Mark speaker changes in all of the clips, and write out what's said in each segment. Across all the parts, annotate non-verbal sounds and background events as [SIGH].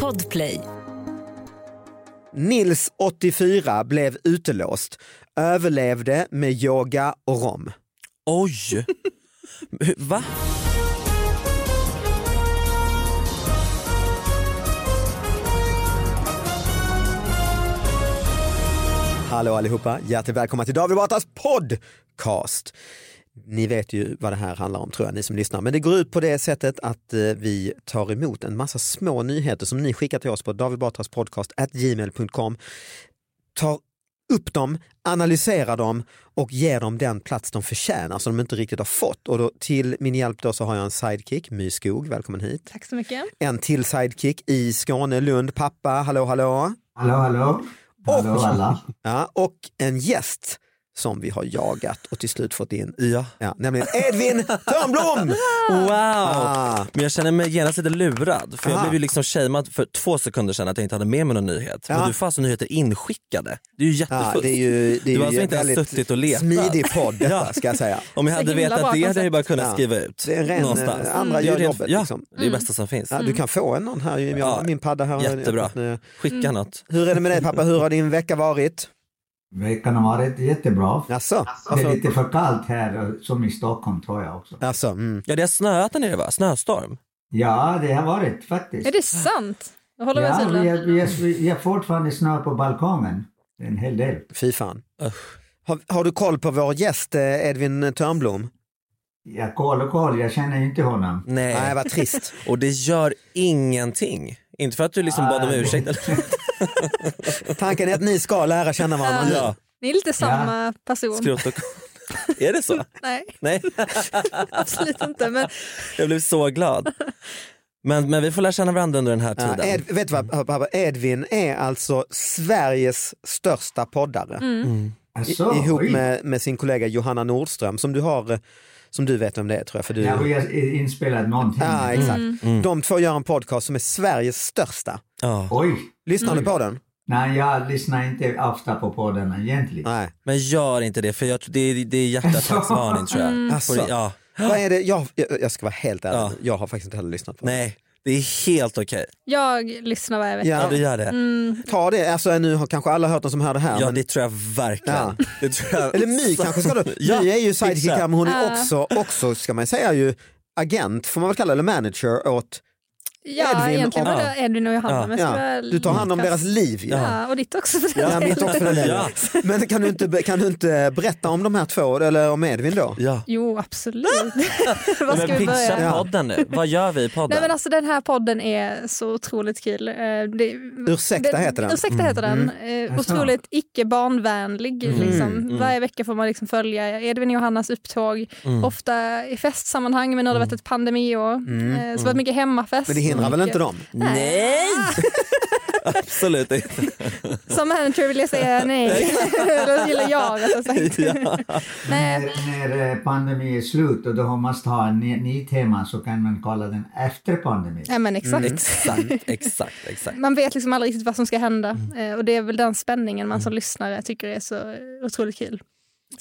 Speaker 1: Podplay.
Speaker 2: Nils, 84, blev utelåst. Överlevde med yoga och rom.
Speaker 3: Oj! [LAUGHS] Va?
Speaker 2: Hallå allihopa, hjärtligt välkomna till David Batras podcast. Ni vet ju vad det här handlar om tror jag, ni som lyssnar. Men det går ut på det sättet att eh, vi tar emot en massa små nyheter som ni skickar till oss på davidbatraspodcast.gmail.com. Tar upp dem, analyserar dem och ger dem den plats de förtjänar som de inte riktigt har fått. Och då, till min hjälp då så har jag en sidekick, My Skog, välkommen hit.
Speaker 4: Tack så mycket.
Speaker 2: En till sidekick i Skåne, Lund, pappa, hallå hallå.
Speaker 5: Hallå, hallå. Hallå
Speaker 2: Och-
Speaker 5: alla.
Speaker 2: Ja, och en gäst som vi har jagat och till slut fått in.
Speaker 3: Ja.
Speaker 2: Ja, nämligen Edvin
Speaker 3: [LAUGHS]
Speaker 2: Törnblom!
Speaker 3: Wow!
Speaker 2: Ah.
Speaker 3: Men jag känner mig genast lite lurad för jag
Speaker 2: Aha.
Speaker 3: blev ju liksom shamead för två sekunder sedan att jag inte hade med mig någon nyhet.
Speaker 2: Ja.
Speaker 3: Men du får alltså nyheter inskickade. Det är ju
Speaker 2: Ja,
Speaker 3: jättefusk.
Speaker 2: det är ju, det är
Speaker 3: du har
Speaker 2: ju
Speaker 3: alltså inte ens
Speaker 2: väldigt
Speaker 3: suttit och letat.
Speaker 2: smidig podd detta ska jag säga.
Speaker 3: Om jag
Speaker 4: Så
Speaker 3: hade
Speaker 4: himla bra
Speaker 3: vetat det hade jag ju
Speaker 4: koncept.
Speaker 3: bara kunnat
Speaker 2: Ja.
Speaker 3: skriva ut.
Speaker 2: Det är en ren,
Speaker 3: någonstans.
Speaker 2: eh, andra
Speaker 3: Det är ju
Speaker 2: gör
Speaker 3: ren-
Speaker 2: jobbet,
Speaker 3: Ja,
Speaker 2: liksom.
Speaker 3: det är det bästa som finns.
Speaker 2: Ja, du kan få en någon här, jag
Speaker 3: Ja,
Speaker 2: har min padda här.
Speaker 3: jättebra.
Speaker 2: Nu.
Speaker 3: Skicka
Speaker 4: Mm.
Speaker 3: något.
Speaker 2: Hur är det med dig pappa, hur har din vecka varit?
Speaker 5: Veckan har varit jättebra.
Speaker 2: Jaså?
Speaker 5: Det är
Speaker 2: Varför-
Speaker 5: lite för kallt här, eh, som i Stockholm tror jag också.
Speaker 2: Jaså, mm.
Speaker 3: Ja det har snöat där nere va? Snöstorm?
Speaker 5: Ja, det har varit faktiskt.
Speaker 4: Är det sant? Jag håller med
Speaker 5: Ja, vi
Speaker 4: Silla.
Speaker 5: är, vi är, vi är fortfarande snö på balkongen. Det är En hel del.
Speaker 2: Fy fan.
Speaker 3: Usch.
Speaker 2: Har, har du koll på vår gäst eh, Edvin Törnblom?
Speaker 5: Jag koll och koll, jag känner ju inte honom.
Speaker 3: Nej.
Speaker 2: Nej, vad trist.
Speaker 3: Och det gör ingenting. Inte för att du liksom bad om
Speaker 5: Nej.
Speaker 4: [LAUGHS]
Speaker 3: ursäkt. eller-
Speaker 2: Tanken är att ni ska lära känna varandra nu.
Speaker 3: ja,
Speaker 4: Ni är lite samma person.
Speaker 3: skrot och... Är det så?
Speaker 4: Nej, [LAUGHS]
Speaker 3: Nej,
Speaker 4: absolut inte. Men
Speaker 3: jag blev så glad. Men, men vi får lära känna varandra under den här
Speaker 2: Ja,
Speaker 3: tiden.
Speaker 2: Eh,
Speaker 3: Mm.
Speaker 2: Ed, vet du vad pappa, Edvin är alltså Sveriges största poddare. I,
Speaker 5: Alltså,
Speaker 2: ihop
Speaker 5: oj.
Speaker 2: med, med sin kollega Johanna Nordström som du har, eh, som du vet om det är, tror jag. För du,
Speaker 5: Ja, vi har inspelat någonting. Mm.
Speaker 2: Ja,
Speaker 3: Mm.
Speaker 2: exakt. De två gör en podcast som är Sveriges största.
Speaker 3: Ja.
Speaker 5: Oj!
Speaker 2: Lyssnar du på den?
Speaker 5: Nej, jag lyssnar inte ofta på poddarna egentligen.
Speaker 2: Nej.
Speaker 3: Men gör inte det för jag, tror- det, är- det är hjärtattacksvarning tror jag.
Speaker 4: Mm.
Speaker 2: Alltså.
Speaker 3: Får- Ja.
Speaker 2: Vad är det? Jag, jag, jag ska vara helt ärlig,
Speaker 3: Mm. Ja.
Speaker 2: jag har faktiskt inte heller lyssnat på den.
Speaker 3: Nej, det är helt okej.
Speaker 4: jag lyssnar varje vecka.
Speaker 3: Ja.
Speaker 2: Ja,
Speaker 3: du gör det.
Speaker 4: Mm.
Speaker 2: ta det, alltså, nu har kanske alla hört den som hör det här.
Speaker 3: Ja
Speaker 2: men,
Speaker 3: det tror jag verkligen.
Speaker 2: Ja.
Speaker 3: Det tror jag.
Speaker 2: Eller My kanske ska
Speaker 3: [LAUGHS]
Speaker 2: du,
Speaker 3: Ja,
Speaker 2: My är ju sidekick
Speaker 3: exakt.
Speaker 2: här men hon är också, också, ska man säga ju, agent, får man väl kalla det, eller manager åt,
Speaker 4: Ja,
Speaker 2: Edvin
Speaker 4: egentligen
Speaker 3: och-
Speaker 4: var det Edvin och Johanna.
Speaker 3: Ja.
Speaker 4: Men så
Speaker 2: ja,
Speaker 4: väl-
Speaker 2: du tar hand om deras liv ju.
Speaker 4: Ja, och ditt också. För
Speaker 2: Ja,
Speaker 4: den
Speaker 2: mitt
Speaker 4: delen.
Speaker 2: också för den delen.
Speaker 3: Ja.
Speaker 2: Men kan du, inte, kan du inte berätta om de här två, eller om Edvin då?
Speaker 3: Ja.
Speaker 4: Jo, absolut. [LAUGHS] Var ska
Speaker 3: Men
Speaker 4: vi börja?
Speaker 3: pitcha podden
Speaker 4: [LAUGHS]
Speaker 3: nu. Vad gör vi i podden?
Speaker 4: Nej, men alltså, den här podden är så otroligt kul. Eh, Det,
Speaker 2: Ursäkta heter den.
Speaker 4: Ursäkta heter den. Eh,
Speaker 5: Jaså.
Speaker 4: Otroligt icke barnvänlig.
Speaker 2: Mm.
Speaker 4: Liksom. Varje vecka får man liksom följa Edvin och Johannas upptåg.
Speaker 2: Mm.
Speaker 4: Ofta i festsammanhang, men nu har det varit ett pandemiår. Eh, Så det har varit mycket hemmafest.
Speaker 2: Mm, Men det hindrar väl
Speaker 4: Mycket-
Speaker 2: inte dem?
Speaker 3: Nej!
Speaker 4: Ah!
Speaker 3: [LAUGHS] Absolut inte.
Speaker 4: Som manager vill jag
Speaker 2: [LAUGHS]
Speaker 4: säga nej. [LAUGHS] Eller gillar jag rättare sagt. Nej.
Speaker 5: När, när eh, pandemin är slut och då måste ha en ny, ny tema så kan man kolla den efter pandemin.
Speaker 4: Ja, men exakt.
Speaker 2: Mm.
Speaker 3: Exakt, exakt, exakt.
Speaker 4: Man vet liksom aldrig riktigt vad som ska hända.
Speaker 2: Mm.
Speaker 4: Eh, Och det är väl den spänningen man som lyssnare tycker är så otroligt kul.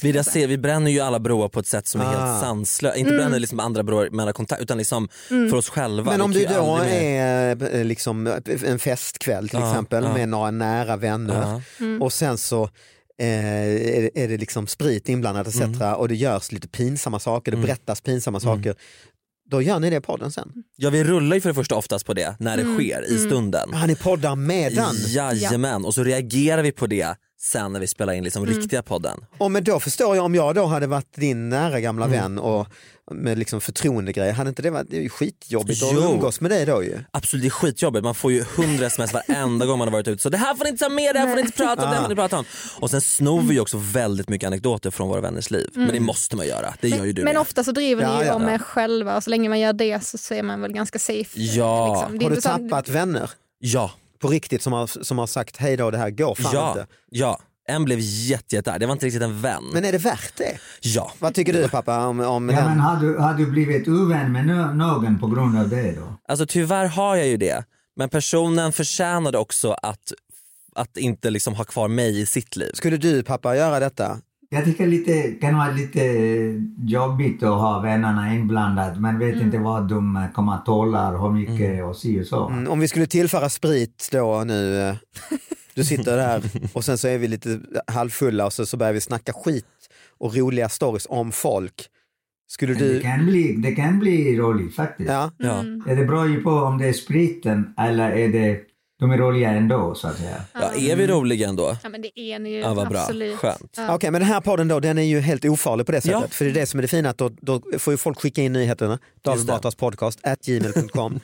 Speaker 3: Vi, raser, vi bränner ju alla broar på ett sätt som är
Speaker 2: Ah.
Speaker 3: helt sanslöst. Inte
Speaker 4: Mm.
Speaker 3: bränner liksom andra broar med alla kontakt utan liksom för oss själva.
Speaker 2: Men om
Speaker 3: Vi
Speaker 2: du
Speaker 3: kan ju
Speaker 2: då
Speaker 3: aldrig mer-
Speaker 2: är eh, liksom eh, en festkväll till
Speaker 3: Ja,
Speaker 2: exempel
Speaker 3: ja.
Speaker 2: med några nära vänner
Speaker 3: Ja.
Speaker 2: och sen så eh, är det- är det liksom sprit inblandat etc. och det görs lite pinsamma saker, det berättas pinsamma saker. Då gör ni det i podden sen.
Speaker 3: ja vi rullar ju för det första oftast på det när det
Speaker 4: Mm,
Speaker 3: sker i stunden.
Speaker 2: Ja, ni poddar medan.
Speaker 3: Jajamän, och så reagerar vi på det sen när vi spelar in liksom
Speaker 4: Mm.
Speaker 3: riktiga podden.
Speaker 2: Och men då förstår jag om jag då hade varit din nära gamla
Speaker 3: Mm.
Speaker 2: vän och med liksom förtroendegrejer, hade inte det varit det är ju skitjobbigt
Speaker 3: Jo.
Speaker 2: att umgås med dig då ju?
Speaker 3: Absolut, det är skitjobbigt. Man får ju 100 sms varenda gång man har varit ute. Så det här får ni inte ta med, det här får ni inte prata om, det här får ni inte prata om. Och sen snor vi ju också väldigt mycket anekdoter från våra vänners liv. Men det måste man göra, det gör ju du
Speaker 4: Mm. Men
Speaker 3: med.
Speaker 4: ofta så driver
Speaker 2: Ja,
Speaker 4: ni ju
Speaker 2: ja,
Speaker 4: om
Speaker 2: ja.
Speaker 4: er själva och så länge man gör det så, så är man väl ganska safe.
Speaker 3: Ja.
Speaker 4: liksom. Det är
Speaker 2: Har du
Speaker 4: inte så-
Speaker 2: tappat vänner
Speaker 3: Ja,
Speaker 2: på riktigt som har, som har sagt hej då det här går fan
Speaker 3: ja,
Speaker 2: inte?
Speaker 3: ja. En blev jätte, jättearg, det var inte riktigt en vän.
Speaker 2: Men är det värt det?
Speaker 3: Ja.
Speaker 2: Vad tycker du pappa om, om
Speaker 5: Ja, men
Speaker 2: den?
Speaker 5: har du, har du blivit ovän med nå- någon på grund av det då?
Speaker 3: Alltså tyvärr har jag ju det. Men personen förtjänade också att, att inte liksom ha kvar mig i sitt liv.
Speaker 2: Skulle du pappa göra detta?
Speaker 5: Jag tycker lite, kan vara lite jobbigt att ha vännerna inblandade. Man vet inte vad de eh, kommer att tåla, hur mycket och si och så.
Speaker 2: Mm. Mm, om vi skulle tillföra sprit då nu. eh, Du sitter
Speaker 3: [LAUGHS]
Speaker 2: där och sen så är vi lite halvfulla och så, så börjar vi snacka skit och roliga stories om folk. Skulle
Speaker 5: Det
Speaker 2: du...
Speaker 5: kan bli, det kan bli roligt faktiskt.
Speaker 2: Ja,
Speaker 3: Ja.
Speaker 4: Mm,
Speaker 5: Ja, Det beror ju på om det är spriten eller är det, de är roliga ändå så att säga.
Speaker 3: Ja, är vi roliga ändå?
Speaker 4: Ja men det är ni ju
Speaker 3: Ja, vad bra.
Speaker 4: absolut.
Speaker 3: Skönt.
Speaker 2: Okej,
Speaker 4: Ja.
Speaker 2: men den här podden då, den är ju helt ofarlig på det sättet.
Speaker 3: Ja.
Speaker 2: För det är det som är det fina, att då, då får ju folk skicka in nyheterna. David
Speaker 3: Just det.
Speaker 2: Batras podcast, at
Speaker 3: [LAUGHS]
Speaker 2: gmail.com.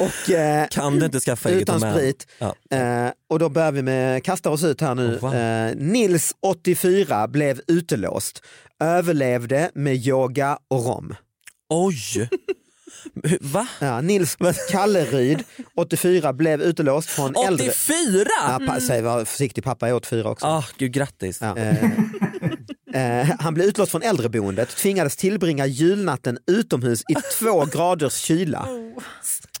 Speaker 2: och eh,
Speaker 3: Kan du inte skaffa eget
Speaker 2: Utan
Speaker 3: domän?
Speaker 2: sprit.
Speaker 3: Ja.
Speaker 2: eh, och då börjar vi med, kastar oss ut här nu.
Speaker 3: Åh, wow.
Speaker 2: eh, Nils, 84, blev utelåst. Överlevde med yoga och rom.
Speaker 3: Oj! Hur- Va?
Speaker 2: Ja, Nils Kalleryd, 84, blev utelåst från äldre...
Speaker 3: 84?
Speaker 2: Ja, pa, säg, var försiktig, pappa är 84 också.
Speaker 3: Ah, gud, grattis.
Speaker 2: Ja. Eh, han blev utlåst från äldreboendet, tvingades tillbringa julnatten utomhus i två graders kyla.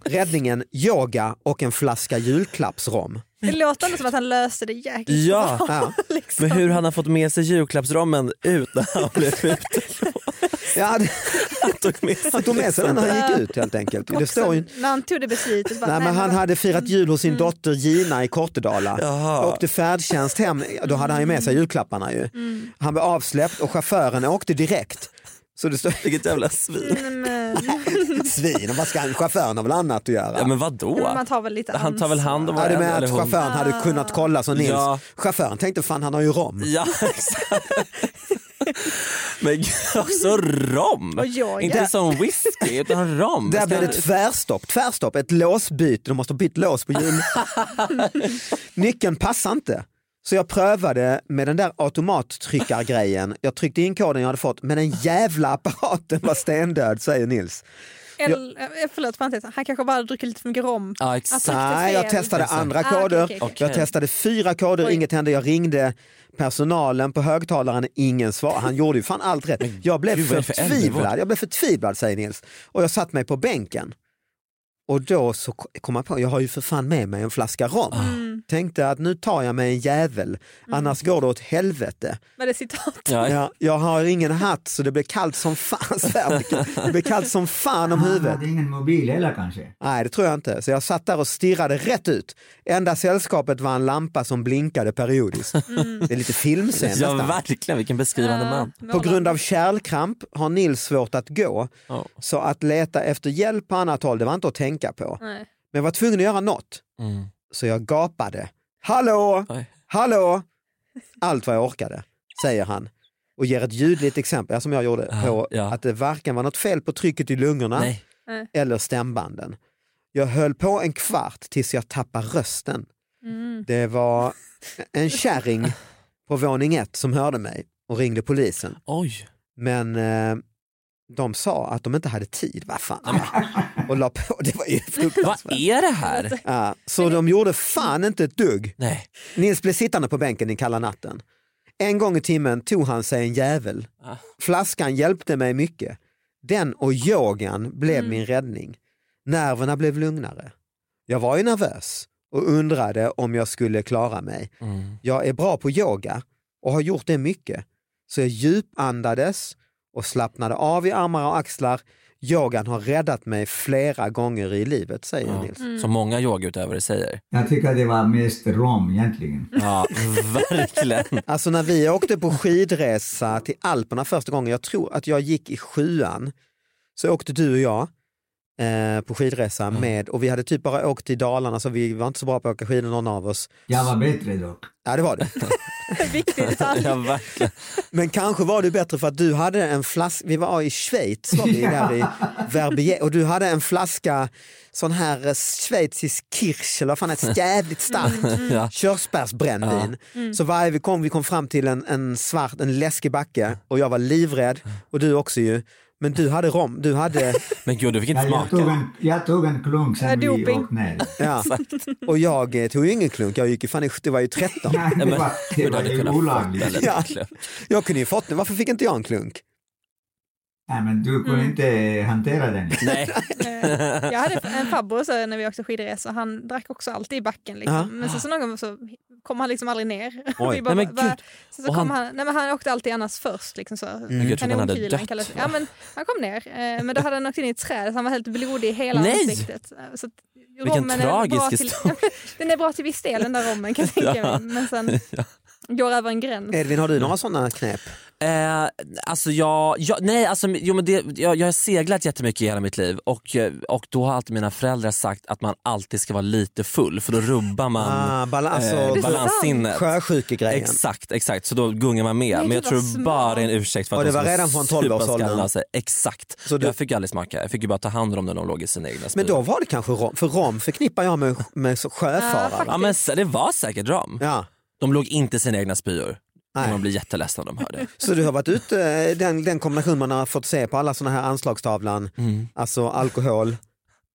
Speaker 2: Räddningen, yoga och en flaska julklappsrom.
Speaker 4: Det låter ändå som att han löste det jäkligt
Speaker 3: Ja.
Speaker 4: bra.
Speaker 2: Ja.
Speaker 4: [LAUGHS] Liksom.
Speaker 3: Men hur han har fått med sig julklappsramen ut när han blev ute.
Speaker 2: Ja, det-
Speaker 3: Han tog med sig
Speaker 2: han tog med sig den när han gick ut helt enkelt. Det står ju...
Speaker 4: När han tog det beslutet. Bara,
Speaker 2: Nej, men han
Speaker 4: vad-
Speaker 2: hade firat jul hos sin dotter Gina i Kortedala.
Speaker 3: Jaha.
Speaker 2: Åkte färdtjänst hem, då hade han ju med sig julklapparna ju. Han blev avsläppt och chauffören åkte direkt. Så det står
Speaker 3: Vilket jävla svin.
Speaker 4: Mm, men-
Speaker 2: svin, och vad ska han, chauffören har väl annat att göra?
Speaker 3: Ja men vadå?
Speaker 4: Man tar väl lite
Speaker 3: Han tar väl hand om
Speaker 2: Ja, du
Speaker 3: varandra,
Speaker 2: menar
Speaker 3: eller
Speaker 2: att
Speaker 3: hon?
Speaker 2: chauffören hade kunnat kolla som Nils?
Speaker 3: Ja.
Speaker 2: Chauffören tänkte fan han har ju
Speaker 3: [LAUGHS]
Speaker 2: rom.
Speaker 3: Ja exakt. Men gud, också rom.
Speaker 4: Och yoga.
Speaker 3: Inte som whisky utan rom.
Speaker 2: Där
Speaker 3: Ska-
Speaker 2: blev det tvärstopp, tvärstopp, ett låsbyte, de måste ha bytt lås på
Speaker 3: [LAUGHS]
Speaker 2: jul. Nyckeln passade inte. Så jag prövade med den där automattryckargrejen. Jag tryckte in koden jag hade fått men den jävla apparaten var stendöd säger Nils.
Speaker 4: Eller, eh, förlåt, parentes. han kanske bara hade druckit lite för mycket rom.
Speaker 3: Ja exakt.
Speaker 4: Alltså-
Speaker 2: Nej, jag
Speaker 4: fel.
Speaker 2: testade
Speaker 3: Exakt.
Speaker 2: andra
Speaker 4: Ah, okej,
Speaker 2: koder.
Speaker 4: okej, okej.
Speaker 2: Jag testade fyra koder,
Speaker 4: Oj.
Speaker 2: inget hände. Jag ringde personalen på högtalaren, ingen svar. Han gjorde ju fan allt rätt. Jag blev
Speaker 3: gud, vad är det för
Speaker 2: förtvivlad,
Speaker 3: äldrevård?
Speaker 2: jag blev förtvivlad säger Nils. Och jag satt mig på bänken. Och då så ko- kom jag på, jag har ju för fan med mig en flaska rom.
Speaker 3: Ah.
Speaker 2: Tänkte att nu tar jag mig en jävel, annars går det åt helvete.
Speaker 4: Var det citat?
Speaker 3: Ja,
Speaker 2: Jag, jag har ingen hatt så det blir kallt som fan. [LAUGHS] Så här, Det blir kallt som fan
Speaker 3: Ah.
Speaker 2: om
Speaker 5: Han
Speaker 2: huvudet.
Speaker 5: hade ingen mobil heller kanske.
Speaker 2: Nej, det tror jag inte. Så jag satt där och stirrade rätt ut. Enda sällskapet var en lampa som blinkade periodiskt. Det är lite filmscen
Speaker 3: ja
Speaker 2: nästan.
Speaker 3: verkligen vilken beskrivande man.
Speaker 2: På grund av kärlkramp har Nils svårt att gå,
Speaker 3: Ja.
Speaker 2: så att leta efter hjälp på annat håll, det var inte att tänka på.
Speaker 4: Nej.
Speaker 2: Men jag var tvungen att göra något,
Speaker 3: Mm.
Speaker 2: så jag gapade. Hallå,
Speaker 3: Oj.
Speaker 2: hallå! Allt vad jag orkade, säger han. Och ger ett ljudligt exempel, som jag gjorde, på
Speaker 3: Ja.
Speaker 2: att det varken var något fel på trycket i lungorna,
Speaker 3: Nej.
Speaker 2: eller stämbanden. Jag höll på en kvart tills jag tappade rösten.
Speaker 4: Mm.
Speaker 2: Det var en kärring på våning ett som hörde mig och ringde polisen.
Speaker 3: Oj.
Speaker 2: Men eh, de sa att de inte hade tid, vad fan. Och la på, det var ju
Speaker 3: Vad
Speaker 2: fruktansvärt.
Speaker 3: är det
Speaker 4: [LAUGHS]
Speaker 3: här?
Speaker 2: Ja, så de gjorde fan inte ett dugg.
Speaker 3: Nej.
Speaker 2: Nils blev sittande på bänken i kalla natten. En gång i timmen tog han sig en jävel.
Speaker 3: Ah.
Speaker 2: Flaskan hjälpte mig mycket. Den och yogan blev
Speaker 3: Mm.
Speaker 2: min räddning. Nerverna blev lugnare. Jag var ju nervös och undrade om jag skulle klara mig.
Speaker 3: Mm.
Speaker 2: Jag är bra på yoga och har gjort det mycket. Så jag djupandades och slappnade av i armar och axlar. Yogan har räddat mig flera gånger i livet, säger
Speaker 3: Ja.
Speaker 2: Nils.
Speaker 3: Som många yogautövare säger.
Speaker 5: Jag tycker det var mest rom egentligen.
Speaker 3: Ja, verkligen.
Speaker 2: Alltså när vi åkte på skidresa till Alperna första gången, jag tror att jag gick i sjuan, så åkte du och jag eh, på skidresa med, och vi hade typ bara åkt till Dalarna så vi var inte så bra på att åka skidor någon av oss.
Speaker 5: Jag var bättre dock.
Speaker 2: Ja det var det.
Speaker 4: Viktig detalj.
Speaker 3: [LAUGHS] Ja, verkligen.
Speaker 2: Men kanske var det bättre för att du hade en flaska, vi var i Schweiz var vi där i Verbier, och du hade en flaska sån här eh, schweizisk kirsch, eller vad fan heter det? jävligt starkt
Speaker 3: Ja.
Speaker 2: körsbärsbrännvin. Så varje vi kom, vi kom fram till en, en svart, en läskig backe och jag var livrädd och du också ju. Men du hade rom, du hade,
Speaker 3: [LAUGHS] Men gud, du fick inte
Speaker 5: Ja, jag,
Speaker 3: smaka.
Speaker 5: tog en, jag tog en klunk sen
Speaker 4: Ja,
Speaker 5: vi
Speaker 4: Äh, doping.
Speaker 5: åkte ner.
Speaker 2: ja. Och jag eh, tog ju ingen klunk, jag gick ju fan i, det var ju 13.
Speaker 5: Nej, det var, det
Speaker 3: Gud,
Speaker 5: var
Speaker 3: hade
Speaker 5: ju
Speaker 3: kunnat fått
Speaker 5: olagligt.
Speaker 3: väldigt
Speaker 2: Ja.
Speaker 3: mycket.
Speaker 2: Jag kunde ju fått det, varför fick inte jag en klunk?
Speaker 5: Nej, men du kunde
Speaker 4: Mm.
Speaker 5: inte hantera den.
Speaker 3: Nej.
Speaker 4: Eh, jag
Speaker 3: [LAUGHS]
Speaker 4: hade en farbror så när vi åkte skidresor, han drack också alltid i backen. Liksom.
Speaker 2: Ja.
Speaker 4: Men sen så någon gång så kom han liksom aldrig ner. [LAUGHS]
Speaker 2: Oj.
Speaker 4: Vi bara,
Speaker 3: Nej, men
Speaker 4: "Va?"
Speaker 3: gud.
Speaker 4: Sen så
Speaker 3: Och
Speaker 4: kom
Speaker 3: han- Mm.
Speaker 4: han... nej, men han åkte alltid annars först. Liksom, så.
Speaker 3: Gud, jag trodde han hade
Speaker 4: Kanonkilen
Speaker 3: dött.
Speaker 4: kallades- ja, men han kom ner, eh, men då hade han åkt in i ett träd så han var helt blodig i hela
Speaker 3: Nej!
Speaker 4: ansiktet. Eh, Så att
Speaker 3: Vilken
Speaker 4: rommen är
Speaker 3: tragisk
Speaker 4: bra
Speaker 3: historia.
Speaker 4: Till, [LAUGHS] den är bra till viss del den där rommen
Speaker 3: [LAUGHS]
Speaker 4: kan jag tänka mig. Men sen går över en gräns.
Speaker 2: Edvin, har du några sådana knep?
Speaker 3: Eh, alltså jag, jag, nej alltså, jo, men det, jag, jag har seglat jättemycket i hela mitt liv och, eh, och då har alltid mina föräldrar sagt att man alltid ska vara lite full för då rubbar man
Speaker 2: Ah, bal- alltså,
Speaker 3: eh,
Speaker 2: du-
Speaker 3: balanssinnet.
Speaker 2: Sjösjukegrejen.
Speaker 3: Exakt, exakt. Så då gungar man med.
Speaker 4: Men
Speaker 3: Men jag
Speaker 4: gud, vad
Speaker 3: tror
Speaker 4: smart.
Speaker 3: bara det är en ursäkt för att
Speaker 2: Och det
Speaker 3: de
Speaker 2: var
Speaker 3: ska
Speaker 2: redan från
Speaker 3: supa
Speaker 2: 12-årsåldern.
Speaker 3: skallen av sig. Exakt.
Speaker 2: Så du-
Speaker 3: Jag fick ju aldrig smaka. Jag fick ju bara ta hand om den när de låg i sina egna
Speaker 2: Men
Speaker 3: spyor.
Speaker 2: då var det kanske rom, för rom förknippar jag med, med så- sjöfarare.
Speaker 3: Ja men så- det var säkert ram.
Speaker 2: Ja.
Speaker 3: De låg inte i sina egna spyor.
Speaker 2: Nej.
Speaker 3: Man blir jätteledsen om de hör det.
Speaker 2: Så du har varit ute, eh, den, den kombination man har fått se på alla sådana här anslagstavlan,
Speaker 3: Mm.
Speaker 2: alltså alkohol,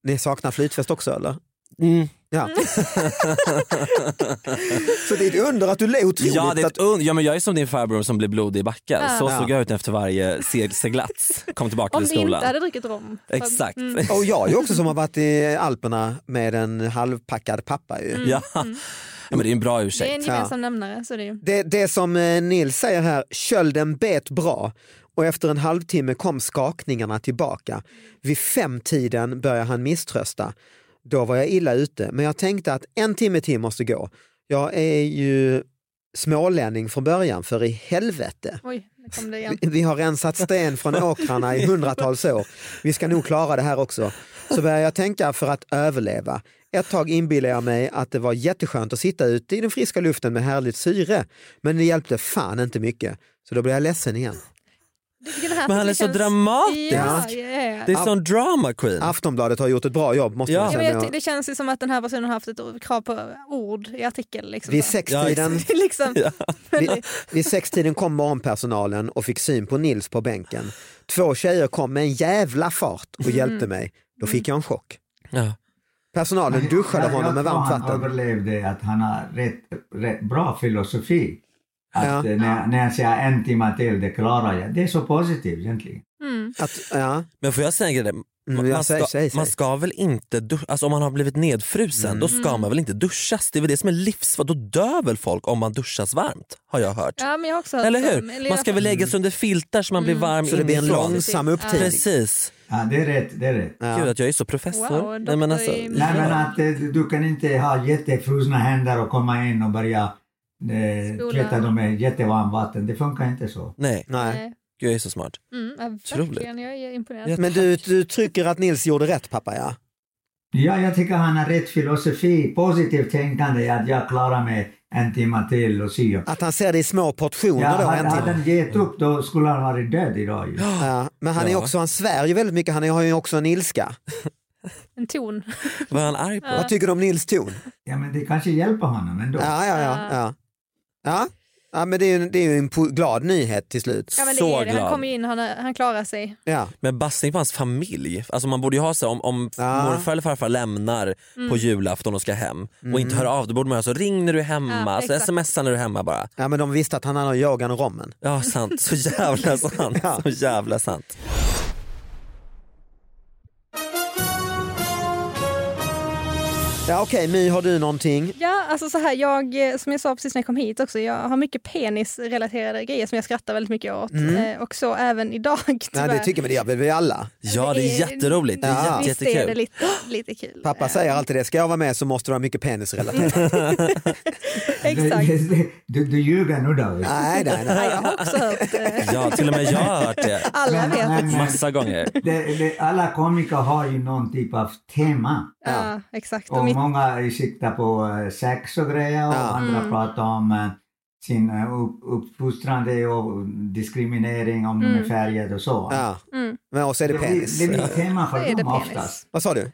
Speaker 2: ni saknar flytväst också eller? [LAUGHS]
Speaker 3: Mm.
Speaker 2: Ja. så det är ett under att du låter otroligt
Speaker 3: Ja, det är
Speaker 2: att
Speaker 3: ett un- ja, men jag är som din farbror som blir blodig i backen.
Speaker 4: Ja.
Speaker 3: Så
Speaker 2: Ja.
Speaker 3: såg jag ut efter varje seg- seglats. Kom
Speaker 4: [LAUGHS]
Speaker 3: tillbaka
Speaker 4: Om
Speaker 3: till
Speaker 4: du inte
Speaker 3: skolan.
Speaker 4: hade druckit rom. Så-
Speaker 3: Exakt.
Speaker 4: Mm.
Speaker 2: och jag är ju också som har varit i Alperna med en halvpackad pappa. Ju.
Speaker 3: [LAUGHS] Ja. ja, men det är en bra ursäkt.
Speaker 4: Det är en gemensam nämnare. Så det är ju.
Speaker 2: Det, det som eh, Nils säger här, kölden bet bra och efter en halvtimme kom skakningarna tillbaka. Vid femtiden började han misströsta. Då var jag illa ute, men jag tänkte att en timme till måste gå. Jag är ju smålänning från början, för i helvete.
Speaker 4: Oj, nu kom det igen.
Speaker 2: Vi- Vi har rensat sten från åkrarna i hundratals år. Vi ska nog klara det här också. Så börjar jag tänka för att överleva. Ett tag inbillade jag mig att det var jätteskönt att sitta ute i den friska luften med härligt syre. Men det hjälpte fan inte mycket. Så då blev jag ledsen igen.
Speaker 4: Vilken här
Speaker 3: Men han är så
Speaker 4: tycker känns-
Speaker 3: dramatisk.
Speaker 4: Ja, ja, ja.
Speaker 3: Det är sån drama queen.
Speaker 2: Aftonbladet har gjort ett bra jobb måste
Speaker 3: Ja.
Speaker 2: man
Speaker 4: Ja, men
Speaker 2: säga.
Speaker 4: jag ty- det känns ju som att den här personen har haft ett o- krav på ord i artikeln. Liksom,
Speaker 2: Vid
Speaker 4: så.
Speaker 2: sextiden,
Speaker 4: liksom,
Speaker 2: vid, vid sextiden kom morgonpersonalen och fick syn på Nils på bänken. Två tjejer kom med en jävla fart och
Speaker 4: Mm.
Speaker 2: hjälpte mig. Då fick jag en chock.
Speaker 3: Ja.
Speaker 2: Personalen duschade
Speaker 5: Jag-
Speaker 2: honom med varmt
Speaker 5: Jag tror han
Speaker 2: vatten.
Speaker 5: överlevde att han har rätt, rätt bra filosofi. Att
Speaker 2: Ja.
Speaker 5: eh, när, när jag säger en timme till, det klarar jag. Det är så positivt egentligen.
Speaker 4: Mm.
Speaker 2: Att, ja.
Speaker 3: Men får jag säga en grej? där?
Speaker 2: Mm,
Speaker 3: Man,
Speaker 2: jag
Speaker 3: man,
Speaker 2: säger-
Speaker 3: ska,
Speaker 2: säger- säger.
Speaker 3: man ska väl inte duscha, alltså om man har blivit nedfrusen då ska man väl inte duschas? Det är väl det som är livsfarligt, då dör väl folk om man duschas varmt har jag hört.
Speaker 4: Ja, men jag har också hört
Speaker 3: Eller
Speaker 4: om-
Speaker 3: hur?
Speaker 4: i
Speaker 3: Man
Speaker 4: alla
Speaker 3: ska väl
Speaker 4: fall-
Speaker 3: lägga sig under filtar så man blir varm
Speaker 2: Så det blir en
Speaker 3: inifrån.
Speaker 2: långsam upptining.
Speaker 3: Precis.
Speaker 5: Ja, det är rätt, det är rätt.
Speaker 3: Gud att jag är så professor.
Speaker 4: Wow,
Speaker 3: Nej, men alltså,
Speaker 4: doktor i-
Speaker 5: Nej, men
Speaker 3: ja.
Speaker 5: att eh, du du kan inte ha jättefrusna händer och komma in och börja eh,
Speaker 4: Spola.
Speaker 5: tvätta dem med jättevarmt vatten. Det funkar inte så.
Speaker 3: Nej,
Speaker 2: Nej.
Speaker 4: Nej.
Speaker 3: Gud, jag är så smart.
Speaker 4: Mm, ja,
Speaker 3: Otroligt.
Speaker 4: verkligen, jag är imponerad.
Speaker 3: Jätte-
Speaker 2: Men du, du tycker att Nils gjorde rätt pappa ja?
Speaker 5: Ja, jag tycker han har rätt filosofi, positivt tänkande, att jag klarar mig en timme till och si och
Speaker 2: Att han ser det i små
Speaker 5: Ja,
Speaker 2: portioner då?
Speaker 5: hade,
Speaker 2: En
Speaker 5: hade
Speaker 2: timme.
Speaker 5: han gett upp då skulle han varit död idag ju.
Speaker 2: Ja, men han, är
Speaker 3: Ja.
Speaker 2: också, han svär ju väldigt mycket, han har ju också en ilska.
Speaker 4: En ton.
Speaker 3: Vad är han arg på?
Speaker 2: Vad tycker du om Nils ton?
Speaker 5: Ja, men det kanske hjälper honom ändå.
Speaker 2: Ja, ja, ja. ja. ja. ja men det är ju det är ju en po- glad nyhet till slut.
Speaker 4: Ja, men det
Speaker 3: Så
Speaker 4: är det.
Speaker 3: glad.
Speaker 4: Han kommer ju in, han, han klarar sig.
Speaker 2: Ja.
Speaker 3: Men bassning på hans familj. Alltså man borde ju ha så här, om, om
Speaker 2: Ja.
Speaker 3: morfar eller farfar lämnar
Speaker 4: Mm.
Speaker 3: på julafton och ska hem och inte hör av då borde man ha så ring när du är hemma,
Speaker 4: Ja,
Speaker 3: så
Speaker 4: exakt.
Speaker 3: smsa när du är hemma bara.
Speaker 2: ja, men de visste att han hade yogan och rommen.
Speaker 3: Ja sant, så [LAUGHS] jävla sant. Så jävla sant.
Speaker 2: Ja, Okej, My, har du någonting?
Speaker 4: Ja, alltså så här, jag, eh, som jag sa precis när jag kom hit också, jag har mycket penisrelaterade grejer som jag skrattar väldigt mycket åt.
Speaker 3: Mm.
Speaker 4: Eh, Och så även idag [LAUGHS]
Speaker 2: Nej, det
Speaker 4: tyvärr.
Speaker 2: tycker men det gör väl vi alla.
Speaker 3: Ja det är jätteroligt, det är
Speaker 2: Ja.
Speaker 3: jätte,
Speaker 4: Alltså, Visst är det
Speaker 3: jättekul.
Speaker 4: lite, lite kul.
Speaker 2: Pappa
Speaker 4: Eh,
Speaker 2: säger alltid det, ska jag vara med så måste det vara
Speaker 4: [LAUGHS]
Speaker 2: mycket penisrelaterat.
Speaker 4: Exakt.
Speaker 5: Du, du ljuger nu då. vet du.
Speaker 2: nej, nej, nej.
Speaker 4: Ja, jag har
Speaker 3: [LAUGHS]
Speaker 4: också hört. eh,
Speaker 3: Ja till och med jag har hört det [LAUGHS]
Speaker 4: Alla
Speaker 5: Men-
Speaker 4: vet.
Speaker 5: men- men
Speaker 3: massa gånger.
Speaker 5: det, det, alla komiker har ju någon typ av tema.
Speaker 4: Ja, exakt. Och
Speaker 5: Och
Speaker 4: mitt,
Speaker 5: många siktar på eh, sex och grejer och
Speaker 2: Ja.
Speaker 5: andra
Speaker 4: Mm.
Speaker 5: pratar om eh, sin eh, upp, uppfostrande och diskriminering om de är färgade och så.
Speaker 2: Ja.
Speaker 4: Mm.
Speaker 2: Men och så är det
Speaker 5: Det blir,
Speaker 2: penis.
Speaker 5: det blir tema
Speaker 4: Då är
Speaker 5: för
Speaker 4: det
Speaker 5: dem
Speaker 4: penis.
Speaker 5: oftast.
Speaker 2: Vad sa du?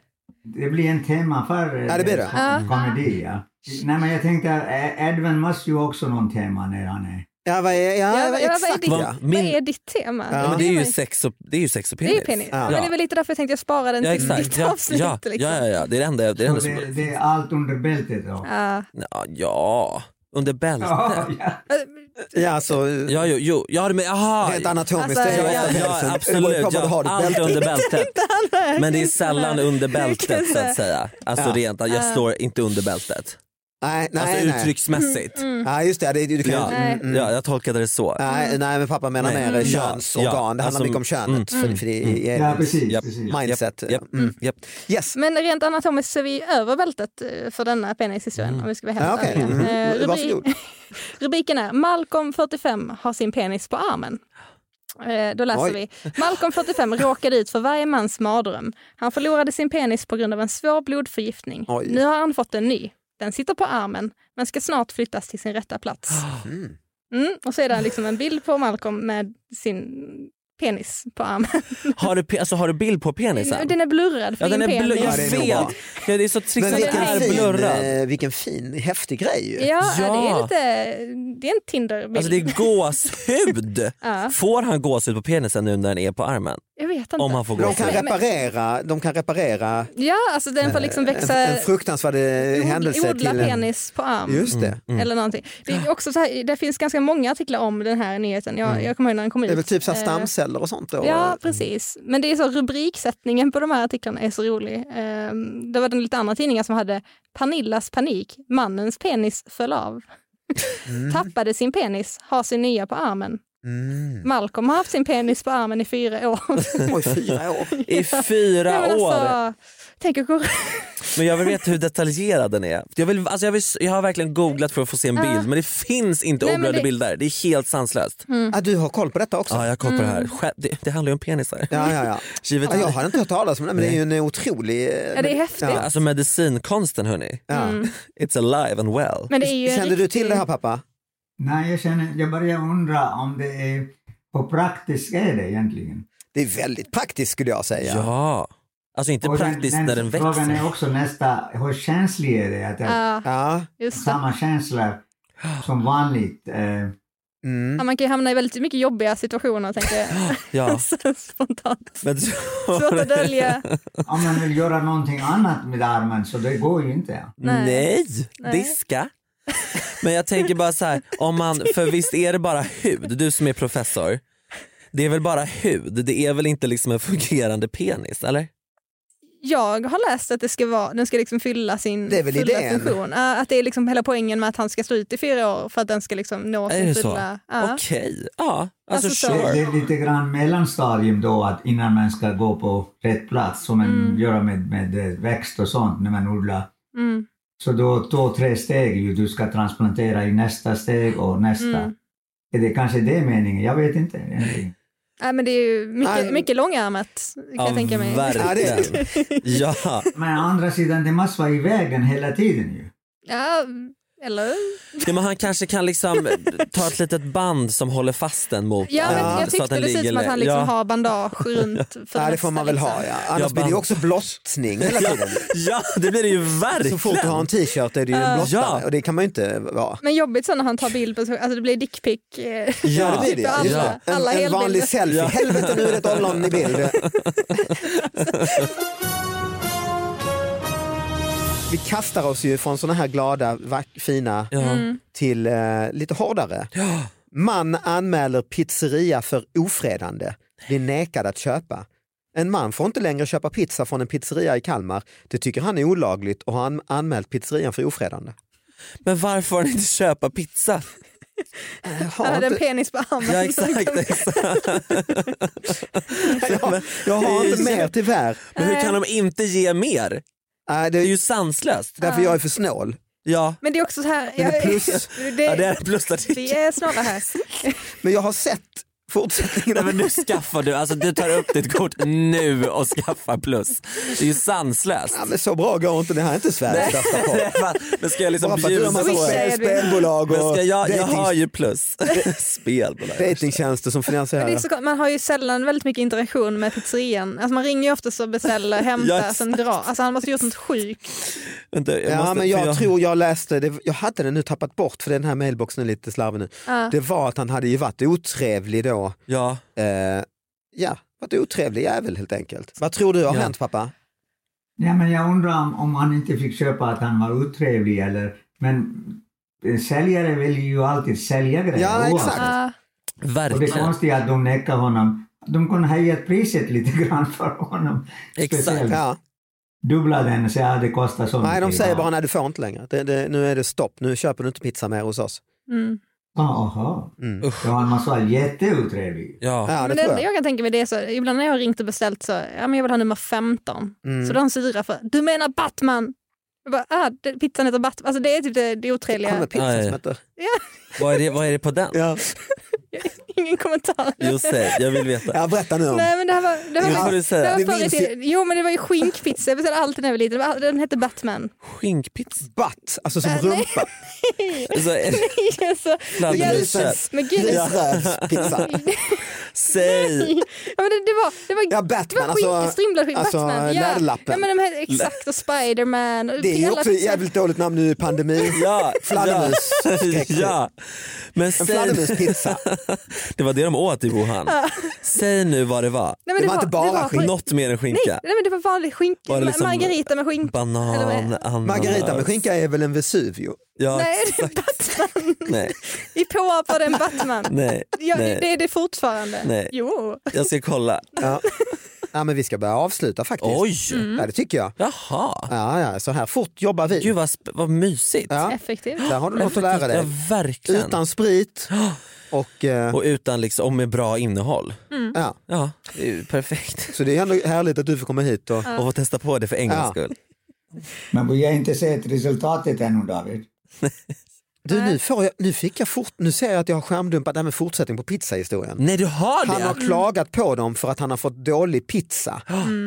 Speaker 5: Det blir en tema för eh,
Speaker 2: Ja, det blir det.
Speaker 5: kom- komedi. Ja. Nej, men jag tänkte, eh, Edvin måste ju också någon tema när han är...
Speaker 2: Ja, vad är, ja,
Speaker 4: Ja, vad- ja, vad är
Speaker 2: exakt
Speaker 4: ditt-
Speaker 2: ja.
Speaker 4: vad
Speaker 3: Min-
Speaker 4: är ditt tema?
Speaker 2: Ja,
Speaker 3: Men det är ju sex och, det är ju sex och
Speaker 4: Det är
Speaker 3: penis.
Speaker 4: ju penis.
Speaker 2: Ja.
Speaker 4: Men det är väl lite därför jag tänkte jag sparar den
Speaker 3: Ja
Speaker 4: till ditt
Speaker 3: exakt, ja,
Speaker 4: avsnitt.
Speaker 3: ja, ja,
Speaker 4: liksom.
Speaker 3: ja, ja. det är det enda, det är det enda
Speaker 5: Så det,
Speaker 4: [LAUGHS]
Speaker 3: som...
Speaker 5: det är allt under bältet. Då.
Speaker 4: Ja.
Speaker 3: Ja, ja. Under
Speaker 5: [LAUGHS]
Speaker 3: bältet?
Speaker 5: Ja, ja.
Speaker 2: Ja, alltså,
Speaker 3: Ja, jo, jo. Ja, men, aha.
Speaker 2: rent anatomiskt.
Speaker 4: Alltså,
Speaker 2: det är
Speaker 4: ja,
Speaker 2: ju
Speaker 3: Ja,
Speaker 2: ofta
Speaker 3: ja,
Speaker 2: hälften.
Speaker 3: ja,
Speaker 2: Det beror
Speaker 3: absolut.
Speaker 2: på vad du har
Speaker 3: Ja,
Speaker 2: ditt
Speaker 3: allt
Speaker 2: bälte.
Speaker 3: under bältet. Men det är
Speaker 4: Inte
Speaker 3: sällan
Speaker 4: där.
Speaker 3: under
Speaker 4: Kan
Speaker 3: bältet så
Speaker 4: säga.
Speaker 3: att säga. Alltså
Speaker 2: Ja.
Speaker 3: rent, jag står inte under bältet.
Speaker 2: Nej, nej,
Speaker 3: Alltså
Speaker 2: nej.
Speaker 3: uttrycksmässigt.
Speaker 2: Ja, just det, det, du kan,
Speaker 3: Ja.
Speaker 2: ju-
Speaker 4: Mm, Nej. Mm.
Speaker 3: Mm. ja, jag tolkade det så.
Speaker 2: Nej, nej men pappa menar
Speaker 3: Nej.
Speaker 2: mer
Speaker 3: Mm.
Speaker 2: könsorgan,
Speaker 3: Ja,
Speaker 2: det handlar
Speaker 3: alltså,
Speaker 2: mycket om könet. För, för det är
Speaker 5: ja precis.
Speaker 3: Japp.
Speaker 5: precis.
Speaker 2: Mm. mindset. Mm.
Speaker 3: Japp, japp.
Speaker 2: Yes.
Speaker 4: Men rent anatomiskt så är vi över bältet eh, för denna penishistorien om vi ska vara helt
Speaker 2: Ja, okej.
Speaker 4: ärliga.
Speaker 2: Mm.
Speaker 4: Eh, rubri-
Speaker 2: Varsågod.
Speaker 4: Rubriken är Malcolm 45 har sin penis på armen. Eh, Då läser
Speaker 2: Oj.
Speaker 4: vi. Malcolm
Speaker 3: [LAUGHS]
Speaker 4: 45 råkade ut för varje mans mardröm. Han förlorade sin penis på grund av en svår blodförgiftning.
Speaker 2: Oj.
Speaker 4: Nu har han fått en ny. Den sitter på armen, men ska snart flyttas till sin rätta
Speaker 3: [GASPS]
Speaker 4: plats.
Speaker 2: Mm.
Speaker 4: Mm. Och så är det liksom en bild på Malcolm med sin penis på armen.
Speaker 3: Har, du, pe- alltså, har du bild
Speaker 4: [LAUGHS]
Speaker 3: på penisen?
Speaker 4: Den är blurrad. För
Speaker 3: ja, den
Speaker 4: din
Speaker 3: är blur-
Speaker 4: penis.
Speaker 3: jag
Speaker 2: Ja, det är nog
Speaker 3: vet.
Speaker 2: bra.
Speaker 3: Ja, det är så trixigt
Speaker 2: Men
Speaker 3: att den
Speaker 2: vilken
Speaker 3: är
Speaker 2: fin,
Speaker 3: blurrad.
Speaker 2: eh, vilken fin, häftig grej ju.
Speaker 4: Ja,
Speaker 3: Ja.
Speaker 4: Det, är lite, det är en Tinder-bild.
Speaker 3: Alltså det är gåshud.
Speaker 4: Ja.
Speaker 3: Får han gåshud på penisen nu när den är på armen?
Speaker 4: Jag vet inte.
Speaker 3: Om han får
Speaker 2: De kan
Speaker 4: Nej,
Speaker 3: gåshud.
Speaker 4: men-
Speaker 2: reparera, de kan reparera
Speaker 4: Ja, alltså den får
Speaker 3: Eh,
Speaker 4: liksom
Speaker 2: en,
Speaker 4: växa,
Speaker 2: en fruktansvärd eh, händelse
Speaker 4: odla
Speaker 2: till en...
Speaker 4: penis på arm.
Speaker 2: Just
Speaker 3: Mm.
Speaker 2: Ah. det.
Speaker 4: Eller någonting. Det, är också så här, det finns ganska många artiklar om den här nyheten. Jag, jag kommer ihåg när den kom ut.
Speaker 2: Mm. Det är väl typ så här
Speaker 4: Eh,
Speaker 2: stamceller och sånt då?
Speaker 4: Ja, precis. Men det är så rubriksättningen på de här artiklarna är så rolig. Eh, Det var den lite andra tidningen som hade Pernillas panik, mannens penis föll av. Tappade sin penis, har sin nya på armen.
Speaker 2: Mm.
Speaker 4: Malcolm har haft sin penis på armen i fyra år.
Speaker 2: [LAUGHS] Oj, fyra år.
Speaker 3: I fyra
Speaker 4: [LAUGHS] Nej, men
Speaker 3: år.
Speaker 4: alltså, tänk att gå
Speaker 3: Men jag vill veta hur detaljerad den är. Jag, vill, alltså jag, vill, jag har verkligen googlat för att få se en bild men det finns inte
Speaker 4: Nej, men
Speaker 3: oblöda
Speaker 4: det-
Speaker 3: bilder. Det är helt sanslöst.
Speaker 2: Ah, du har koll på detta också?
Speaker 3: Ja, jag kopplar
Speaker 4: Mm.
Speaker 3: det här. Själv- Det, det handlar ju om penisar.
Speaker 2: Ja, ja, ja.
Speaker 3: Givet.
Speaker 2: Ja, jag har inte hört talas om det, men det är ju en otrolig...
Speaker 4: [LAUGHS] Ja, det är häftigt.
Speaker 3: Alltså medicinkonsten hörni.
Speaker 2: Ja.
Speaker 3: It's alive and well.
Speaker 4: Men det är ju en
Speaker 2: Kände du
Speaker 4: riktig-
Speaker 2: till det här pappa?
Speaker 5: Nej, jag, känner, jag börjar undra om det är... Hur praktiskt är det egentligen?
Speaker 2: Det är väldigt praktiskt skulle jag säga.
Speaker 3: Ja. Alltså inte
Speaker 5: Och den-
Speaker 3: praktiskt
Speaker 5: den
Speaker 3: när den
Speaker 5: Frågan
Speaker 3: växer.
Speaker 5: är också nästa, hur känslig är det? Att jag,
Speaker 4: Ja,
Speaker 2: Ja.
Speaker 4: just det.
Speaker 5: Samma känslor som vanligt. Eh,
Speaker 4: Ja,
Speaker 2: Mm.
Speaker 4: man kan ju hamna i väldigt mycket jobbiga situationer tänker jag. [LAUGHS]
Speaker 3: Ja.
Speaker 4: Så Spontant.
Speaker 3: Men,
Speaker 4: Svårt att dölja.
Speaker 5: om man vill göra någonting annat med armen så det går ju inte.
Speaker 4: Nej.
Speaker 3: [LAUGHS] Nej.
Speaker 4: Nej.
Speaker 3: diska. Men jag tänker bara så här, om man, för visst är det bara hud, du som är professor. Det är väl bara hud, det är väl inte liksom en fungerande penis eller?
Speaker 4: Jag har läst att det ska vara, den ska liksom fylla sin
Speaker 2: Det är väl
Speaker 4: fulla
Speaker 2: idén.
Speaker 4: funktion. Ja, Att det är liksom hela poängen med att han ska stå ut i fyra år för att den ska liksom nå
Speaker 3: Är
Speaker 4: sin
Speaker 3: det så?
Speaker 4: fulla... Ja.
Speaker 3: Okej, ja alltså,
Speaker 4: Alltså, så-
Speaker 5: Det,
Speaker 3: sure.
Speaker 5: det är lite grann mellanstadium då att innan man ska gå på rätt plats som man gör med, med eh, växt och sånt när man odlar.
Speaker 4: Mm.
Speaker 5: Så då två, tre steg ju du ska transplantera i nästa steg och nästa.
Speaker 4: Mm.
Speaker 5: Är det kanske det är meningen? Jag vet inte. egentligen.
Speaker 4: Nej, men det är ju
Speaker 2: Nej.
Speaker 4: mycket, mycket långärmat kan
Speaker 3: Ja,
Speaker 4: jag tänka mig.
Speaker 2: Ja,
Speaker 3: verkligen. Ja,
Speaker 5: Men å andra sidan, det måste vara i vägen hela tiden ju.
Speaker 4: Ja, eller?
Speaker 3: ja, men han kanske kan liksom ta ett litet band som håller fast den mot
Speaker 4: Ja, men
Speaker 3: den,
Speaker 4: jag tyckte det ser ut som att han liksom
Speaker 3: ja.
Speaker 4: har bandage runt. För
Speaker 2: Ja, det
Speaker 4: nästa,
Speaker 2: får man väl
Speaker 4: liksom.
Speaker 2: ha ja. Annars
Speaker 3: Jag
Speaker 2: blir det ju
Speaker 3: band-
Speaker 2: också blottning hela
Speaker 3: [LAUGHS] Ja,
Speaker 2: tiden.
Speaker 3: ja, det blir det ju verkligen.
Speaker 2: Så fort du har en t-shirt är det ju en blottare
Speaker 3: Ja.
Speaker 2: och det kan man ju inte vara.
Speaker 4: Men jobbigt så när han tar bild på sig alltså det blir dickpic. Ja,
Speaker 3: Ja,
Speaker 2: Det blir det.
Speaker 4: Typ Alla,
Speaker 3: Ja.
Speaker 4: alla
Speaker 2: en, en vanlig
Speaker 4: helbilder.
Speaker 2: selfie.
Speaker 3: Ja.
Speaker 2: Helvete nu är det ett ollon i
Speaker 3: [LAUGHS]
Speaker 2: bild. Vi kastar oss ju från såna här glada, vack, fina
Speaker 3: Ja.
Speaker 4: Mm.
Speaker 2: till eh, lite hårdare. Man anmäler pizzeria för ofredande, blir nekad att köpa. En man får inte längre köpa pizza från en pizzeria i Kalmar. Det tycker han är olagligt och har an- anmält pizzerian för ofredande.
Speaker 3: Men varför har han inte köpa pizza?
Speaker 4: [LAUGHS]
Speaker 2: Har
Speaker 4: Han hade en
Speaker 2: inte-
Speaker 4: penis på armen.
Speaker 3: Ja exakt, exakt.
Speaker 2: jag, har- jag har
Speaker 3: [LAUGHS]
Speaker 2: inte mer tyvärr.
Speaker 3: Men hur kan de inte ge mer?
Speaker 2: Nej, det
Speaker 3: Det är
Speaker 2: är
Speaker 3: ju sanslöst.
Speaker 2: därför jag är för snål.
Speaker 3: Ja,
Speaker 4: Men det är också så här.
Speaker 2: Men det är plus.
Speaker 4: [LAUGHS] det,
Speaker 3: ja det är en plusartikel.
Speaker 4: vi är snarare
Speaker 2: [LAUGHS]
Speaker 4: här.
Speaker 2: Men jag har sett fortsättningen.
Speaker 3: Nej,
Speaker 2: av-
Speaker 3: men nu skaffar du, alltså du tar upp ditt kort nu och skaffar plus. Det är
Speaker 2: [LAUGHS]
Speaker 3: ju sanslöst.
Speaker 2: Ja, men så bra går inte, det här är inte Sveriges största podd.
Speaker 3: [LAUGHS] Men ska jag liksom
Speaker 2: Bara för att du har
Speaker 3: bjuda
Speaker 2: massa
Speaker 4: Swisha
Speaker 3: på
Speaker 2: spel,
Speaker 4: är det.
Speaker 2: spelbolag och
Speaker 3: men ska jag, jag
Speaker 2: dating-
Speaker 3: har ju plus. [LAUGHS] Spelbolag.
Speaker 2: datingtjänster som finansierar
Speaker 4: Det är
Speaker 2: det.
Speaker 4: så, konstigt, man har ju sällan väldigt mycket interaktion med pizzerian. Alltså man ringer ju ofta och
Speaker 2: [LAUGHS]
Speaker 4: beställer,
Speaker 3: Ja,
Speaker 4: hämtar,
Speaker 3: exakt.
Speaker 4: sen drar. Alltså han måste ha gjort något sjukt.
Speaker 3: Vänta, jag
Speaker 2: Ja,
Speaker 3: måste-
Speaker 2: men
Speaker 3: för
Speaker 2: jag, tror jag läste, det, jag hade den nu tappat bort för den här mailboxen är lite slarvig nu. Det var att han hade ju varit otrevlig då.
Speaker 3: Ja,
Speaker 2: Eh, ja, varit otrevlig jävel helt enkelt. Vad tror du har
Speaker 3: Ja.
Speaker 2: hänt pappa?
Speaker 5: Ja, men jag undrar om, om han inte fick köpa att han var otrevlig eller... Men En säljare vill ju alltid sälja grejer.
Speaker 2: Ja,
Speaker 5: oavsett.
Speaker 2: exakt.
Speaker 4: Ja.
Speaker 5: Och det
Speaker 3: Verkligen.
Speaker 5: konstiga är att de nekar honom. De kunde höja priset lite grann för honom.
Speaker 3: Exakt.
Speaker 5: Speciellt.
Speaker 2: Ja.
Speaker 5: Dubbla den och säga att det kostar så
Speaker 2: Nej, de
Speaker 5: mycket.
Speaker 2: säger bara nej du får inte längre. Det, det, nu är det stopp, nu köper du inte pizza mer hos oss.
Speaker 4: Mm.
Speaker 5: Ja, Jaha.
Speaker 2: Mm.
Speaker 3: Usch.
Speaker 5: Ja, man sa jätteotrevlig.
Speaker 3: Ja.
Speaker 2: Ja, det
Speaker 4: Men det
Speaker 2: tror
Speaker 4: enda
Speaker 2: jag.
Speaker 4: jag kan tänka mig det är så, ibland när jag har ringt och beställt så, ja men jag vill ha nummer 15.
Speaker 2: Mm.
Speaker 4: Så de syrar för, du menar Batman! Jag bara, ah, det, pizzan heter Batman. Alltså det är typ det, det
Speaker 2: Kommer
Speaker 4: otrevliga.
Speaker 2: pizza
Speaker 3: Nej.
Speaker 2: som heter.
Speaker 3: Vad, är det, vad är det på den?
Speaker 2: Ja.
Speaker 4: [LAUGHS] Ingen kommentar.
Speaker 3: Just det, jag vill veta.
Speaker 2: ja, berätta nu om.
Speaker 4: Nej men det här var, det
Speaker 3: Nu
Speaker 4: var,
Speaker 3: får du
Speaker 4: det
Speaker 3: säga.
Speaker 2: Det
Speaker 4: här var förr i
Speaker 2: minns
Speaker 4: tiden. Jo men det var ju skinkpizza, jag beställde alltid när jag var liten. Det var- Den hette Batman. [LAUGHS]
Speaker 3: Skinkpizza?
Speaker 2: Butt, alltså som
Speaker 4: Äh, nej.
Speaker 2: rumpa.
Speaker 3: Så är det
Speaker 4: alltså,
Speaker 3: fladdermusen?
Speaker 2: Grisens-
Speaker 4: men gud.
Speaker 2: Grisrövspizza.
Speaker 3: Säg!
Speaker 4: [LAUGHS] Ja, men det, det, var, det var
Speaker 2: Ja,
Speaker 4: Det var
Speaker 2: Batman,
Speaker 4: skink,
Speaker 2: alltså.
Speaker 4: strimlad skinn,
Speaker 2: alltså,
Speaker 4: Batman. Ja.
Speaker 2: läderlappen.
Speaker 4: Ja, men de här, exakt, och Spiderman. och
Speaker 2: Det är ju
Speaker 4: alla
Speaker 2: också ett
Speaker 4: pizza-
Speaker 2: jävligt dåligt namn nu i pandemi.
Speaker 3: Ja,
Speaker 2: Fladdermus.
Speaker 3: Ja. [LAUGHS] ja. Mm. Men
Speaker 2: En
Speaker 3: säg,
Speaker 2: fladdermuspizza.
Speaker 3: det var det de åt i Wuhan. Säg nu vad det var.
Speaker 4: Nej,
Speaker 2: det var inte bara skinn.
Speaker 3: Något mer än
Speaker 4: Nej,
Speaker 3: skinka.
Speaker 4: nej, men det var vanlig skink,
Speaker 3: Var det liksom-
Speaker 4: margarita med skink. Eller vad är
Speaker 3: Banan,
Speaker 4: det?
Speaker 3: ananas.
Speaker 2: Margarita med skinka är väl en Vesuvio?
Speaker 3: Ja,
Speaker 4: Nej,
Speaker 3: ex-
Speaker 4: det är Batman.
Speaker 3: nej,
Speaker 4: Vi påhoppade en Batman.
Speaker 3: nej,
Speaker 4: Ja, det, det
Speaker 3: nej.
Speaker 4: är det fortfarande.
Speaker 3: Nej.
Speaker 4: Jo.
Speaker 3: Jag ska kolla.
Speaker 2: Ja. ja, men vi ska börja avsluta faktiskt.
Speaker 3: Oj!
Speaker 4: Mm.
Speaker 2: Ja, det tycker jag.
Speaker 3: Jaha.
Speaker 2: Ja, ja, så här fort jobbar vi.
Speaker 3: Gud vad, sp- vad mysigt.
Speaker 2: Ja,
Speaker 4: Effektivt.
Speaker 2: där har du något att lära
Speaker 3: Ja,
Speaker 2: dig.
Speaker 3: verkligen.
Speaker 2: Utan
Speaker 3: [GASPS]
Speaker 2: sprit och... eh,
Speaker 3: Och utan liksom, och med bra innehåll.
Speaker 4: Mm.
Speaker 2: Ja.
Speaker 3: Ja, det är ju perfekt.
Speaker 2: Så det är ändå härligt att du får komma hit och...
Speaker 3: Och få testa på det för en
Speaker 2: Ja.
Speaker 3: gångs skull.
Speaker 5: Men vi har inte sett resultatet ännu, David.
Speaker 2: Du, nu, får jag, nu fick jag fort... Nu ser jag att jag har skärmdumpat det här med fortsättning på pizzahistorien.
Speaker 3: Nej du har
Speaker 2: Han
Speaker 3: det?
Speaker 2: har klagat på dem för att han har fått dålig pizza.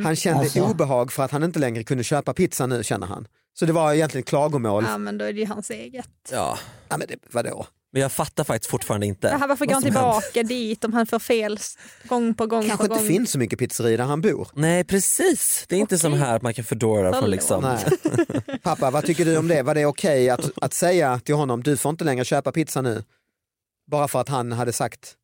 Speaker 2: Han kände
Speaker 5: Alltså.
Speaker 2: obehag för att han inte längre kunde köpa pizza nu känner han. Så det var egentligen klagomål.
Speaker 4: Ja, men då är det ju hans eget.
Speaker 3: Ja.
Speaker 2: Ja, men det, vadå?
Speaker 3: Men jag fattar faktiskt fortfarande inte.
Speaker 4: Det här, varför går
Speaker 3: vad
Speaker 4: han
Speaker 3: som hänt.
Speaker 4: tillbaka dit om han får fel s- gång på gång
Speaker 2: Kanske
Speaker 4: på gång?
Speaker 2: inte finns så mycket pizzerior där han bor.
Speaker 3: Nej precis, det är inte som här att man kan fördora
Speaker 4: Hallå.
Speaker 3: från liksom.
Speaker 2: Nej. [LAUGHS] Pappa, vad tycker du om det? Var det okej att, att säga till honom, du får inte längre köpa pizza nu? Bara för att han hade sagt,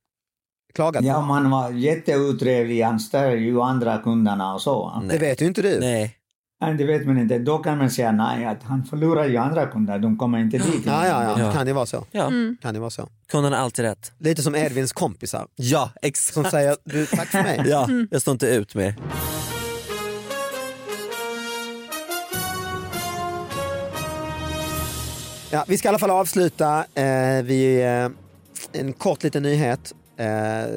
Speaker 2: klagat.
Speaker 5: Ja, man var jätteotrevlig. Han stör ju andra kunderna och så. va?
Speaker 3: Nej.
Speaker 2: Det vet ju inte du.
Speaker 3: Nej.
Speaker 5: Men det vet man inte. Då kan man säga nej, att han förlorar ju andra kunder. De kommer inte dit.
Speaker 2: Ja, ja, ja.
Speaker 3: Ja.
Speaker 2: Kan det vara så?
Speaker 3: Ja.
Speaker 4: Mm.
Speaker 2: Kan det vara så?
Speaker 3: Kunden har alltid rätt.
Speaker 2: Lite som Edvins kompisar
Speaker 3: Ja
Speaker 2: som
Speaker 3: exakt.
Speaker 2: säger, du, tack för mig.
Speaker 3: Ja, jag står inte ut med er.
Speaker 2: Ja, vi ska i alla fall avsluta. Eh, vi, eh, en kort liten nyhet. Eh,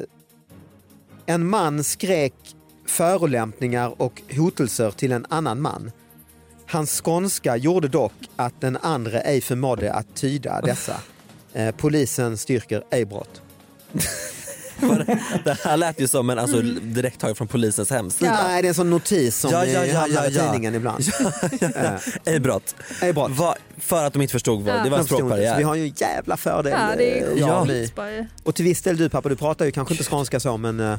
Speaker 2: en man skrek förolämpningar och hotelser till en annan man. Hans skånska gjorde dock att den andra ej förmådde att tyda dessa. Eh, polisen styrker ej brott.
Speaker 3: Det här lät ju som en alltså, direkt taget från polisens hemsida.
Speaker 2: Nej, det är en sån notis som
Speaker 3: Ja, ja,
Speaker 2: eh,
Speaker 3: ja,
Speaker 2: hamnar i
Speaker 3: [LAUGHS] ja, ja.
Speaker 2: tidningen ibland.
Speaker 3: Ej brott.
Speaker 2: Ej brott.
Speaker 3: Va, för att de inte förstod vad
Speaker 4: Ja.
Speaker 3: det var
Speaker 2: De
Speaker 3: en
Speaker 2: förstod inte, så Vi
Speaker 3: språkbarriär.
Speaker 2: har ju en jävla fördel.
Speaker 4: Ja, det är
Speaker 2: eh,
Speaker 4: ju
Speaker 2: jag
Speaker 4: ja.
Speaker 2: och ni. Och till viss del du pappa, du pratar ju kanske inte skånska så men eh,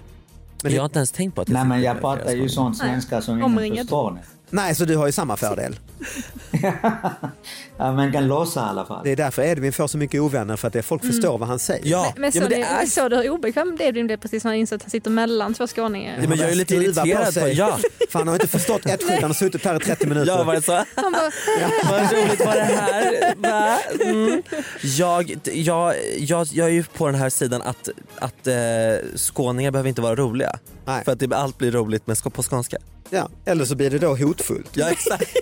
Speaker 3: Jag har inte ens tänkt på att det
Speaker 5: Nej, men
Speaker 3: sitter
Speaker 5: jag
Speaker 3: där
Speaker 5: pratar
Speaker 3: flera
Speaker 5: ju
Speaker 3: språk.
Speaker 5: sånt svenska som ingen
Speaker 4: Omringad.
Speaker 5: förstår.
Speaker 2: nej så du har ju samma fördel.
Speaker 5: Ja, man kan låsa i alla fall.
Speaker 2: Det är därför Edvin får så mycket ovänner för att det folk förstår vad han säger.
Speaker 3: Ja,
Speaker 4: Men, men, så
Speaker 3: ja, men det
Speaker 4: det,
Speaker 3: är
Speaker 4: såg du hur obekväm det blev precis när han insåg att han sitter mellan två skåningar?
Speaker 3: Ja, men jag är lite
Speaker 2: Skruva
Speaker 3: irriterad på-
Speaker 2: sig.
Speaker 3: ja.
Speaker 2: För han har inte förstått ett skit, han har suttit här i 30 minuter.
Speaker 3: Jag var så,
Speaker 4: Han bara,
Speaker 3: vad roligt var det här? Va? Mm. Jag, jag, jag, jag är ju på den här sidan att, att eh, skåningar behöver inte vara roliga.
Speaker 2: Nej.
Speaker 3: För att det, allt blir roligt med, sk- på skånska.
Speaker 2: ja. Eller så blir det då hotfullt.
Speaker 3: Ja exakt.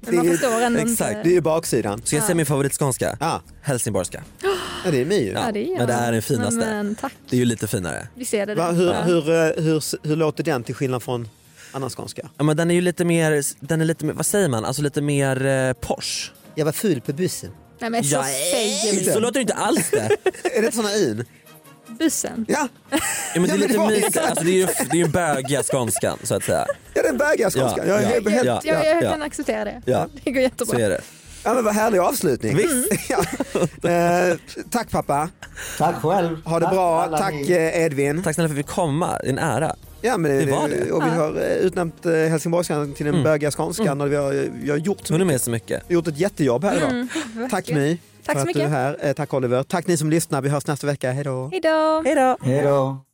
Speaker 4: men man
Speaker 2: Det är-
Speaker 4: förstår ändå
Speaker 3: exakt,
Speaker 2: Det är
Speaker 4: inte.
Speaker 2: ju baksidan.
Speaker 3: Så jag säger min favoritskånska,
Speaker 2: Ja,
Speaker 3: helsingborgska.
Speaker 2: ja det är mig ju.
Speaker 4: Ja, det är,
Speaker 3: Men det här är den finaste.
Speaker 4: Men, men tack,
Speaker 3: Det är ju lite finare.
Speaker 4: vi ser det.
Speaker 2: Va,
Speaker 4: där.
Speaker 2: hur,
Speaker 4: Ja.
Speaker 2: hur, eh, hur, hur låter den till skillnad från annan skånska?
Speaker 3: Ja, men den är ju lite mer, den är lite mer, vad säger man, alltså lite mer eh, Porsche.
Speaker 2: Jag var ful på bussen.
Speaker 4: Nej men så
Speaker 3: Ja,
Speaker 4: säger vi.
Speaker 3: Så låter det inte alls det.
Speaker 2: [LAUGHS] Är det ett sådana in?
Speaker 4: Bussen.
Speaker 2: Ja,
Speaker 3: Ja, men det
Speaker 2: Ja, men
Speaker 3: är
Speaker 2: det
Speaker 3: lite
Speaker 2: var-
Speaker 3: mysigt, alltså, det är ju det är ju bögiga skånskan så att säga.
Speaker 2: ja den bögiga skånskan.
Speaker 3: Ja,
Speaker 2: Jag är
Speaker 3: ja,
Speaker 2: helt-
Speaker 4: Jag,
Speaker 2: helt...
Speaker 3: ja.
Speaker 4: jag, jag
Speaker 3: ja.
Speaker 4: kan acceptera det.
Speaker 3: Ja.
Speaker 4: Det går jättebra.
Speaker 3: Så är det.
Speaker 2: Ja, men vad härlig avslutning. [LAUGHS] Ja. Eh, tack pappa,
Speaker 5: Tack själv.
Speaker 2: ha det
Speaker 5: Tack
Speaker 2: bra.
Speaker 5: alla
Speaker 2: Tack
Speaker 5: ni.
Speaker 2: eh, Edvin.
Speaker 3: Tack snälla för att vi fick komma, det är en ära.
Speaker 2: Ja, men det,
Speaker 3: Det var det. Mm.
Speaker 2: Och vi har eh, utnämnt eh, helsingborgskan till den bögiga skånskan och vi har, eh, vi har gjort, så
Speaker 3: Hon är
Speaker 2: mycket,
Speaker 3: med så mycket.
Speaker 2: gjort ett jättejobb här idag. Tack
Speaker 4: verkligen.
Speaker 2: My
Speaker 4: Mm. Tack
Speaker 2: för
Speaker 4: så
Speaker 2: att du är
Speaker 4: mycket.
Speaker 2: här. Eh, Tack Oliver. Tack ni som lyssnar. Vi hörs nästa vecka. Hej då.
Speaker 4: Hej då.
Speaker 3: Hej då!
Speaker 5: Hej då.